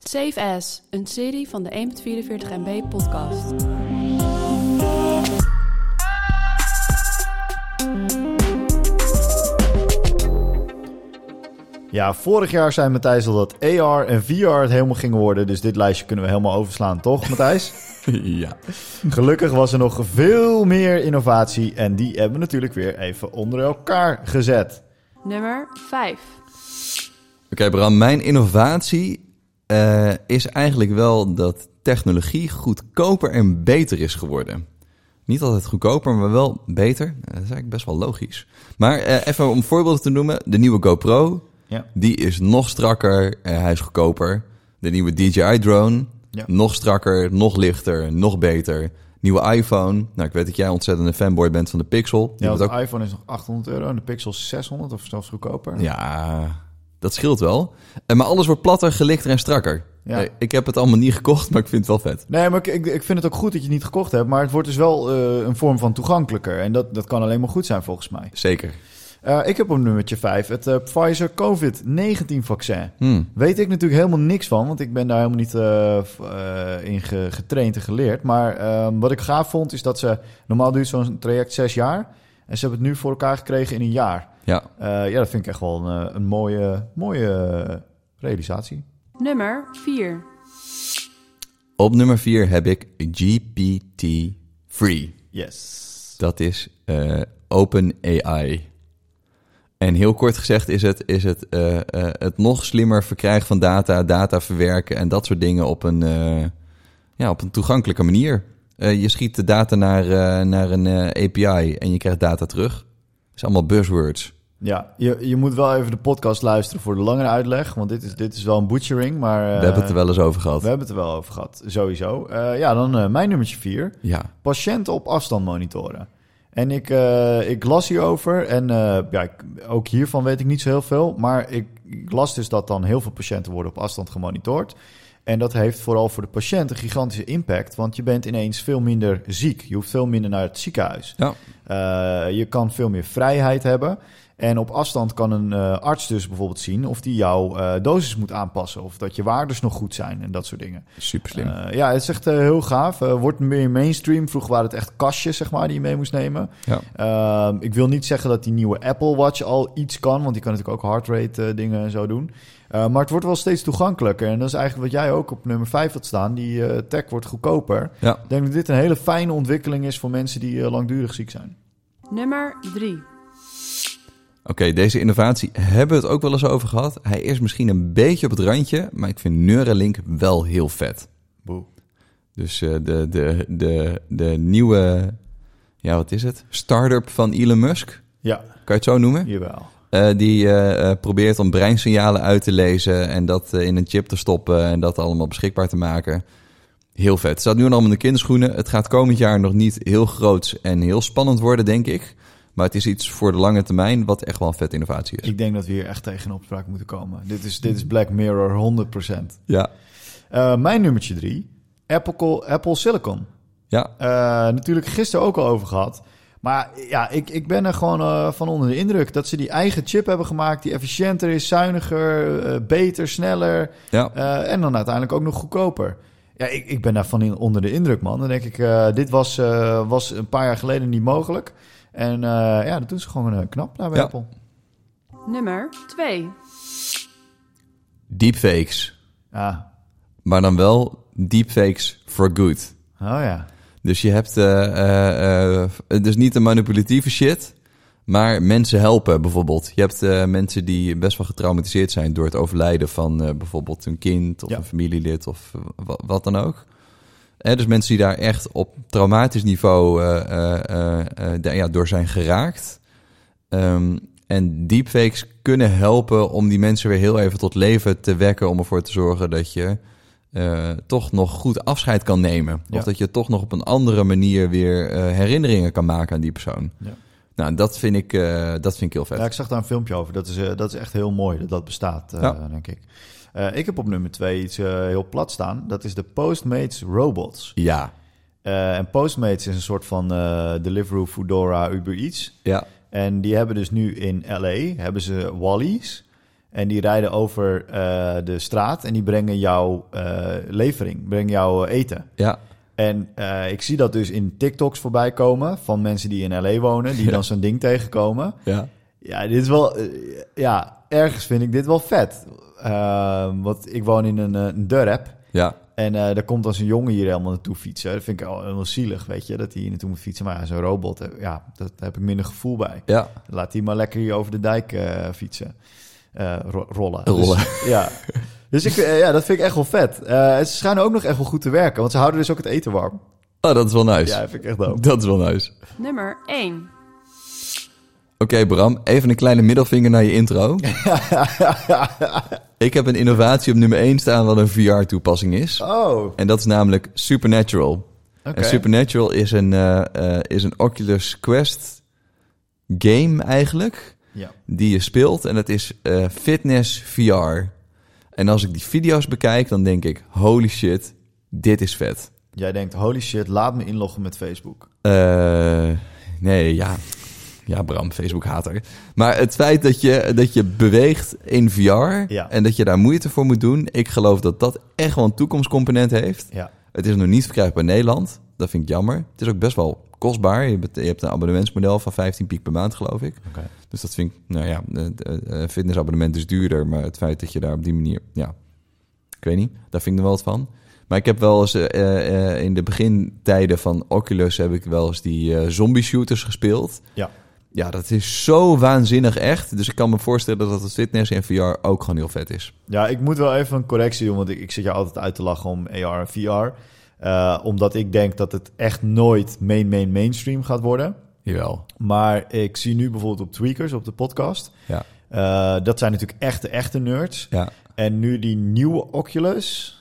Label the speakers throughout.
Speaker 1: Safe As, een serie van de 1.44 MB podcast.
Speaker 2: Ja, vorig jaar zei Matthijs al dat AR en VR het helemaal gingen worden. Dus dit lijstje kunnen we helemaal overslaan, toch Matthijs?
Speaker 3: ja.
Speaker 2: Gelukkig was er nog veel meer innovatie. En die hebben we natuurlijk weer even onder elkaar gezet.
Speaker 1: Nummer 5.
Speaker 3: Oké, Bram, mijn innovatie eh, is eigenlijk wel dat technologie goedkoper en beter is geworden. Niet altijd goedkoper, maar wel beter. Eh, Dat is eigenlijk best wel logisch. Maar eh, even om voorbeelden te noemen: de nieuwe GoPro,
Speaker 2: Ja.
Speaker 3: die is nog strakker, eh, hij is goedkoper. De nieuwe DJI-drone,
Speaker 2: Ja.
Speaker 3: nog strakker, nog lichter, nog beter. Nieuwe iPhone. Nou, ik weet dat jij een ontzettende fanboy bent van de Pixel. Die
Speaker 2: Ja, want
Speaker 3: wordt ook
Speaker 2: de iPhone is nog 800 euro en de Pixel 600 of zelfs goedkoper.
Speaker 3: Ja, dat scheelt wel. En maar alles wordt platter, gelichter en strakker.
Speaker 2: Ja.
Speaker 3: Nee, ik heb het allemaal niet gekocht, maar ik vind het wel vet.
Speaker 2: Nee, maar ik, ik, ik vind het ook goed dat je het niet gekocht hebt. Maar het wordt dus wel eh, een vorm van toegankelijker. En dat, dat kan alleen maar goed zijn volgens mij.
Speaker 3: Zeker.
Speaker 2: Eh, ik heb op nummertje 5 het eh, Pfizer COVID-19 vaccin.
Speaker 3: Hmm.
Speaker 2: Weet ik natuurlijk helemaal niks van, want ik ben daar helemaal niet eh, v- eh, in ge- getraind en geleerd. Maar ehm, wat ik gaaf vond is dat ze, normaal duurt zo'n traject zes jaar. En ze hebben het nu voor elkaar gekregen in een jaar.
Speaker 3: Ja,
Speaker 2: Eh, ja, dat vind ik echt wel een, eh, een mooie, mooie realisatie.
Speaker 1: Nummer 4.
Speaker 3: op nummer 4 heb ik GPT-3.
Speaker 2: Yes.
Speaker 3: Dat is eh Open AI. En heel kort gezegd is het, is het, eh, eh, het nog slimmer verkrijgen van data, data verwerken en dat soort dingen op een, eh, ja, op een toegankelijke manier. Eh, je schiet de data naar, eh, naar een eh, API en je krijgt data terug. Dat is allemaal buzzwords.
Speaker 2: Ja, je, je moet wel even de podcast luisteren voor de langere uitleg. Want dit is, dit is wel een butchering, maar... eh,
Speaker 3: We hebben het er wel eens over gehad.
Speaker 2: we hebben het er wel over gehad, sowieso. Eh, ja, dan eh, mijn nummertje 4.
Speaker 3: Ja,
Speaker 2: patiënten op afstand monitoren. En ik, eh, ik las hierover en eh, ja, ik- ook hiervan weet ik niet zo heel veel. Maar ik, ik las dus dat dan heel veel patiënten worden op afstand gemonitord. En dat heeft vooral voor de patiënt een gigantische impact. Want je bent ineens veel minder ziek. Je hoeft veel minder naar het ziekenhuis.
Speaker 3: ja.
Speaker 2: Eh, je kan veel meer vrijheid hebben. En op afstand kan een eh, arts dus bijvoorbeeld zien of die jouw eh, dosis moet aanpassen. Of dat je waardes nog goed zijn en dat soort dingen.
Speaker 3: super slim.
Speaker 2: Eh, ja, het is echt eh, heel gaaf. Eh, wordt meer mainstream. Vroeger waren het echt kastjes, zeg maar, die je mee moest nemen.
Speaker 3: ja.
Speaker 2: Ehm, ik wil niet zeggen dat die nieuwe Apple Watch al iets kan, want die kan natuurlijk ook heartrate eh, dingen en zo doen. Eh, maar het wordt wel steeds toegankelijker. En dat is eigenlijk wat jij ook op nummer 5 had staan. Die eh, tech wordt goedkoper.
Speaker 3: Ja.
Speaker 2: Ik denk dat dit een hele fijne ontwikkeling is voor mensen die eh, langdurig ziek zijn.
Speaker 1: Nummer 3.
Speaker 3: Oké, deze innovatie hebben we het ook wel eens over gehad. Hij is misschien een beetje op het randje, maar ik vind Neuralink wel heel vet.
Speaker 2: Boe.
Speaker 3: Dus eh, de, de, de, de nieuwe, ja wat is het? Startup van Elon Musk,
Speaker 2: Ja,
Speaker 3: kan je het zo noemen?
Speaker 2: jawel.
Speaker 3: Eh, die eh, eh, probeert om breinsignalen uit te lezen en dat eh, in een chip te stoppen en dat allemaal beschikbaar te maken. Heel vet. Het staat nu allemaal in de kinderschoenen. Het gaat komend jaar nog niet heel groots en heel spannend worden, denk ik. Maar het is iets voor de lange termijn wat echt wel een vet innovatie is.
Speaker 2: Ik denk dat we hier echt tegen een opspraak moeten komen. Dit is, dit is Black Mirror 100%.
Speaker 3: Ja,
Speaker 2: Eh, mijn nummertje 3. Apple, Apple Silicon.
Speaker 3: ja.
Speaker 2: Eh, natuurlijk gisteren ook al over gehad. Maar ja, ik, ik ben er gewoon eh, van onder de indruk dat ze die eigen chip hebben gemaakt die efficiënter is, zuiniger, eh, beter, sneller
Speaker 3: ja.
Speaker 2: eh, en dan uiteindelijk ook nog goedkoper. Ja, ik, ik ben daarvan in, onder de indruk, man. Dan denk ik, eh, dit was, eh, was een paar jaar geleden niet mogelijk. En eh, ja, dat doen ze gewoon eh, knap daar bij
Speaker 3: Ja.
Speaker 2: Apple.
Speaker 1: Nummer 2.
Speaker 3: Deepfakes.
Speaker 2: Ah,
Speaker 3: Maar dan wel deepfakes for good.
Speaker 2: oh ja.
Speaker 3: Dus je hebt eh, eh, eh, dus niet de manipulatieve shit, maar mensen helpen bijvoorbeeld. Je hebt eh, mensen die best wel getraumatiseerd zijn door het overlijden van eh, bijvoorbeeld een kind of
Speaker 2: Ja.
Speaker 3: een familielid of eh, wa- wat dan ook. Eh, dus mensen die daar echt op traumatisch niveau eh, eh, eh, eh, da- ja, door zijn geraakt. Ehm, en deepfakes kunnen helpen om die mensen weer heel even tot leven te wekken. Om ervoor te zorgen dat je eh, toch nog goed afscheid kan nemen.
Speaker 2: Ja.
Speaker 3: Of dat je toch nog op een andere manier weer eh, herinneringen kan maken aan die persoon.
Speaker 2: Ja.
Speaker 3: Nou, dat vind, ik, eh, dat vind ik heel vet.
Speaker 2: Ja, ik zag daar een filmpje over. Dat is, eh, dat is echt heel mooi dat dat bestaat, eh,
Speaker 3: Ja.
Speaker 2: denk ik. Eh, ik heb op nummer twee iets eh, heel plat staan. Dat is de Postmates Robots.
Speaker 3: Ja,
Speaker 2: Eh, en Postmates is een soort van eh, Deliveroo, Foodora, Uber Eats.
Speaker 3: ja,
Speaker 2: En die hebben dus nu in LA hebben ze Wally's. En die rijden over eh, de straat en die brengen jouw eh, levering, brengen jouw eten.
Speaker 3: Ja,
Speaker 2: En eh, ik zie dat dus in TikToks voorbij komen van mensen die in LA wonen, die
Speaker 3: Ja.
Speaker 2: dan zo'n ding tegenkomen.
Speaker 3: ja.
Speaker 2: Ja, dit is wel. eh, ja, ergens vind ik dit wel vet. Ehm, want ik woon in een, eh, een dorp.
Speaker 3: Ja,
Speaker 2: En eh daar komt dan zo'n jongen hier helemaal naartoe fietsen. Dat vind ik al heel zielig, weet je, dat hij hier naartoe moet fietsen. Maar ja, zo'n robot, eh, ja, dat daar heb ik minder gevoel bij.
Speaker 3: ja.
Speaker 2: Laat die maar lekker hier over de dijk eh, fietsen. Eh, ro- rollen.
Speaker 3: Rollen.
Speaker 2: Dus, ja. Dus ik, eh, ja, dat vind ik echt wel vet. Eh, ze schijnen ook nog echt wel goed te werken, want ze houden dus ook het eten warm.
Speaker 3: Oh, dat is wel nice.
Speaker 2: Ja, dat vind ik echt dope.
Speaker 3: Dat is wel nice. Oké,
Speaker 1: Nummer 1.
Speaker 3: Bram, even een kleine middelvinger naar je intro. ik heb een innovatie op nummer 1 staan wat een VR-toepassing is.
Speaker 2: Oh, oké.
Speaker 3: En dat is namelijk Supernatural. En Supernatural is een, eh, eh, is een Oculus Quest game eigenlijk.
Speaker 2: Ja.
Speaker 3: Die je speelt. En dat is eh, fitness VR. En als ik die video's bekijk, dan denk ik... Holy shit, dit is vet.
Speaker 2: Jij denkt, holy shit, laat me inloggen met Facebook.
Speaker 3: Eh, nee, ja. Ja, Bram, Facebook-hater. Maar het feit dat je, dat je beweegt in VR... en dat je daar moeite voor moet doen... ik geloof dat dat echt wel een toekomstcomponent heeft.
Speaker 2: Ja.
Speaker 3: Het is nog niet verkrijgbaar in Nederland. Dat vind ik jammer. Het is ook best wel kostbaar. Je, bet- je hebt een abonnementsmodel van 15 piek per maand, geloof ik.
Speaker 2: Oké.
Speaker 3: Dus dat vind ik, nou ja, het, eh, eh, fitnessabonnement is duurder. Maar het feit dat je daar op die manier, ja, ik weet niet, daar vind ik er wel wat van. Maar ik heb wel eens eh, eh, eh, in de begintijden van Oculus heb ik wel eens die eh, zombie shooters gespeeld.
Speaker 2: Ja.
Speaker 3: Ja, dat is zo waanzinnig echt. Dus ik kan me voorstellen dat het fitness en VR ook gewoon heel vet is.
Speaker 2: Ja, ik moet wel even een correctie doen, want ik, ik zit jou altijd uit te lachen om AR en VR. Eh, omdat ik denk dat het echt nooit main, main, mainstream gaat worden.
Speaker 3: Jawel.
Speaker 2: Maar ik zie nu bijvoorbeeld op Tweakers, op de podcast.
Speaker 3: Ja.
Speaker 2: eh, dat zijn natuurlijk echte, echte nerds.
Speaker 3: Ja.
Speaker 2: En nu die nieuwe Oculus.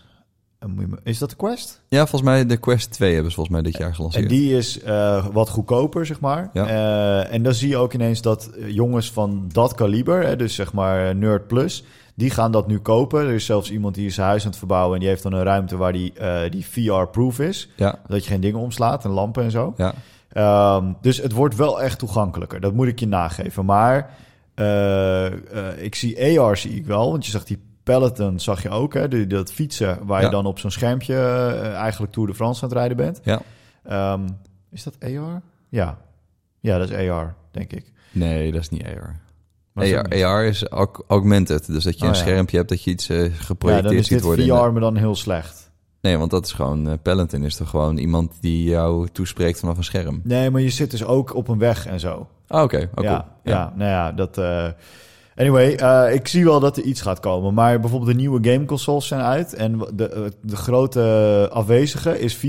Speaker 2: eh, moet je me- Is dat de Quest?
Speaker 3: ja, volgens mij de Quest 2 hebben ze volgens mij dit jaar gelanceerd.
Speaker 2: En die is eh, wat goedkoper, zeg maar.
Speaker 3: Ja.
Speaker 2: Eh, en dan zie je ook ineens dat eh, jongens van dat kaliber, hè, dus zeg maar eh, Nerd Plus, die gaan dat nu kopen. Er is zelfs iemand die is zijn huis aan het verbouwen en die heeft dan een ruimte waar die, eh, die VR-proof is.
Speaker 3: Ja,
Speaker 2: Dat je geen dingen omslaat en lampen en zo.
Speaker 3: ja.
Speaker 2: Ehm, dus het wordt wel echt toegankelijker. Dat moet ik je nageven. Maar eh, eh, ik zie AR zie ik wel. Want je zag die Peloton, zag je ook. Hè? Die, dat fietsen waar
Speaker 3: Ja.
Speaker 2: je dan op zo'n schermpje eh, eigenlijk Tour de France aan het rijden bent.
Speaker 3: Ja.
Speaker 2: Ehm, is dat AR? Ja. Ja, dat is AR, denk ik.
Speaker 3: Nee, dat is niet AR.
Speaker 2: Maar is dat
Speaker 3: AR,
Speaker 2: niet?
Speaker 3: AR is aug- augmented. Dus dat je
Speaker 2: Oh,
Speaker 3: een
Speaker 2: ja.
Speaker 3: schermpje hebt dat je iets eh,
Speaker 2: ja, dan
Speaker 3: geprojecteerd
Speaker 2: is dit
Speaker 3: ziet
Speaker 2: VR,
Speaker 3: worden. in de-
Speaker 2: maar dan heel slecht.
Speaker 3: Nee, want dat is gewoon... eh, Peloton is toch gewoon iemand die jou toespreekt vanaf een scherm.
Speaker 2: Nee, maar je zit dus ook op een weg en zo.
Speaker 3: Ah, oké. Oh, cool.
Speaker 2: ja, ja. nou ja, dat. eh, anyway, eh, ik zie wel dat er iets gaat komen. Maar bijvoorbeeld de nieuwe gameconsoles zijn uit. En de, eh, de grote afwezige is VR.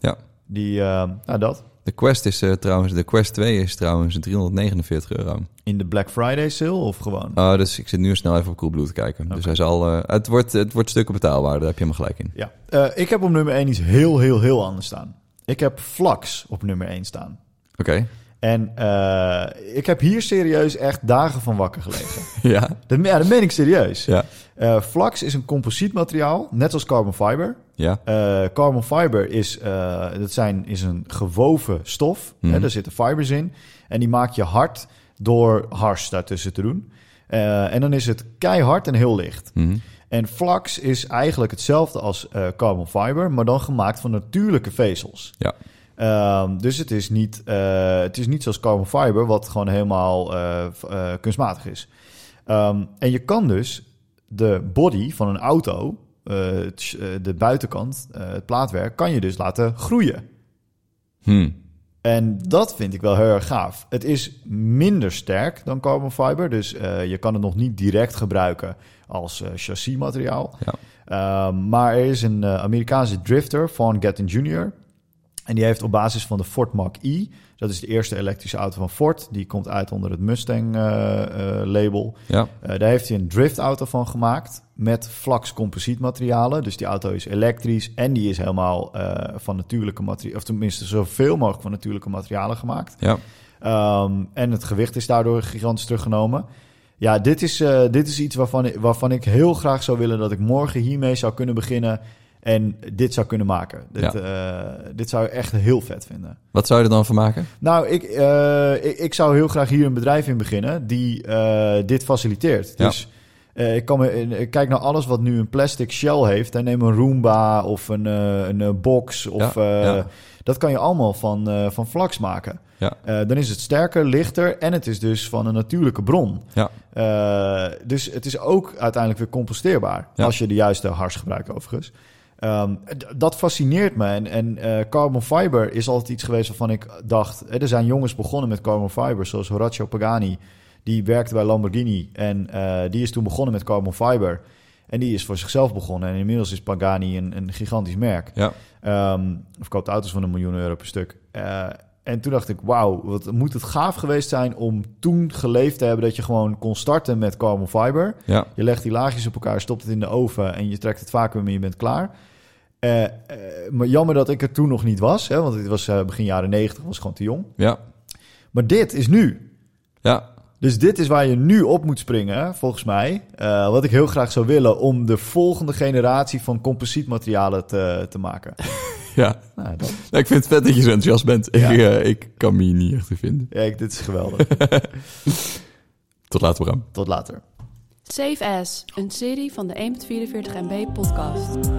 Speaker 3: Ja.
Speaker 2: Die, eh, nou dat.
Speaker 3: De Quest is eh, trouwens... De Quest 2 is trouwens 349 euro.
Speaker 2: In de Black Friday sale of gewoon?
Speaker 3: Oh, dus ik zit nu snel even op Coolblue te kijken. Dus hij zal... eh, het, wordt, het wordt stukken betaalbaar. Daar heb je me gelijk in.
Speaker 2: Ja. Eh, ik heb op nummer 1 iets heel, heel, heel anders staan. Ik heb Flax op nummer 1 staan.
Speaker 3: Oké.
Speaker 2: En eh, ik heb hier serieus echt dagen van wakker gelegen.
Speaker 3: ja.
Speaker 2: dat, me- ja, dat meen ik serieus.
Speaker 3: Ja.
Speaker 2: Eh, flax is een composietmateriaal, net als carbon fiber.
Speaker 3: Ja.
Speaker 2: Eh, carbon fiber is, eh, dat zijn, is een gewoven stof.
Speaker 3: Mhm.
Speaker 2: Hè, daar zitten fibers in. En die maak je hard door hars daartussen te doen. Eh, en dan is het keihard en heel licht.
Speaker 3: Mhm.
Speaker 2: En flax is eigenlijk hetzelfde als eh, carbon fiber, maar dan gemaakt van natuurlijke vezels.
Speaker 3: Ja.
Speaker 2: Ehm, dus het is, niet, eh, het is niet zoals carbon fiber, wat gewoon helemaal eh, f- eh, kunstmatig is. Ehm, en je kan dus de body van een auto, eh, het sh- eh, de buitenkant, eh, het plaatwerk, kan je dus laten groeien.
Speaker 3: Hm.
Speaker 2: En dat vind ik wel heel erg gaaf. Het is minder sterk dan carbon fiber, dus eh, je kan het nog niet direct gebruiken als eh chassismateriaal.
Speaker 3: Ja.
Speaker 2: Ehm, maar er is een eh, Amerikaanse drifter, Von Gatton Jr. En die heeft op basis van de Ford Mach-E, dat is de eerste elektrische auto van Ford, die komt uit onder het eh, Mustang-label.
Speaker 3: Ja.
Speaker 2: Eh, daar heeft hij een driftauto van gemaakt met flax composietmaterialen. Dus die auto is elektrisch en die is helemaal eh, van natuurlijke materialen, of tenminste zoveel mogelijk van natuurlijke materialen gemaakt.
Speaker 3: Ja.
Speaker 2: Ehm, en het gewicht is daardoor gigantisch teruggenomen. Ja, dit is, eh, dit is iets waarvan, ik- waarvan ik heel graag zou willen dat ik morgen hiermee zou kunnen beginnen en dit zou kunnen maken. Dit,
Speaker 3: Ja.
Speaker 2: eh, dit zou ik echt heel vet vinden.
Speaker 3: Wat zou je er dan van maken?
Speaker 2: Nou, ik, eh, ik, ik zou heel graag hier een bedrijf in beginnen die eh, dit faciliteert.
Speaker 3: Ja.
Speaker 2: Dus Eh, ik, kan me, ik kijk naar alles wat nu een plastic shell heeft. En neem een Roomba of een, eh, een eh, box. Of, eh,
Speaker 3: ja.
Speaker 2: Dat kan je allemaal van, eh, van flaks maken.
Speaker 3: Ja.
Speaker 2: Eh, dan is het sterker, lichter en het is dus van een natuurlijke bron.
Speaker 3: Ja.
Speaker 2: Eh, dus het is ook uiteindelijk weer composteerbaar.
Speaker 3: Ja.
Speaker 2: Als je de juiste hars gebruikt overigens. Ehm, d- dat fascineert me. En, en eh, carbon fiber is altijd iets geweest waarvan ik dacht... eh, Er zijn jongens begonnen met carbon fiber, zoals Horacio Pagani. Die werkte bij Lamborghini en eh, die is toen begonnen met carbon fiber. En die is voor zichzelf begonnen. En inmiddels is Pagani een, een gigantisch merk.
Speaker 3: Ja.
Speaker 2: Ehm, verkoopt auto's van een miljoen euro per stuk. Eh, en toen dacht ik, wauw, wat moet het gaaf geweest zijn om toen geleefd te hebben dat je gewoon kon starten met carbon fiber.
Speaker 3: Ja.
Speaker 2: Je legt die laagjes op elkaar, stopt het in de oven en je trekt het vacuüm en je bent klaar. Eh, eh, maar jammer dat ik er toen nog niet was, hè, want dit was eh, begin jaren 90, was gewoon te jong.
Speaker 3: Ja.
Speaker 2: Maar dit is nu.
Speaker 3: Ja.
Speaker 2: Dus dit is waar je nu op moet springen, volgens mij. Eh, wat ik heel graag zou willen om de volgende generatie van composietmaterialen te, te maken.
Speaker 3: ja.
Speaker 2: Nou, dat,
Speaker 3: Nou, ik vind het vet dat je zo enthousiast bent.
Speaker 2: Ja.
Speaker 3: Ik, eh, ik kan me hier niet echt in vinden.
Speaker 2: ja, ik- dit is geweldig.
Speaker 3: Tot later, Bram.
Speaker 2: Tot later.
Speaker 1: Save As, een serie van de 1.44 MB podcast.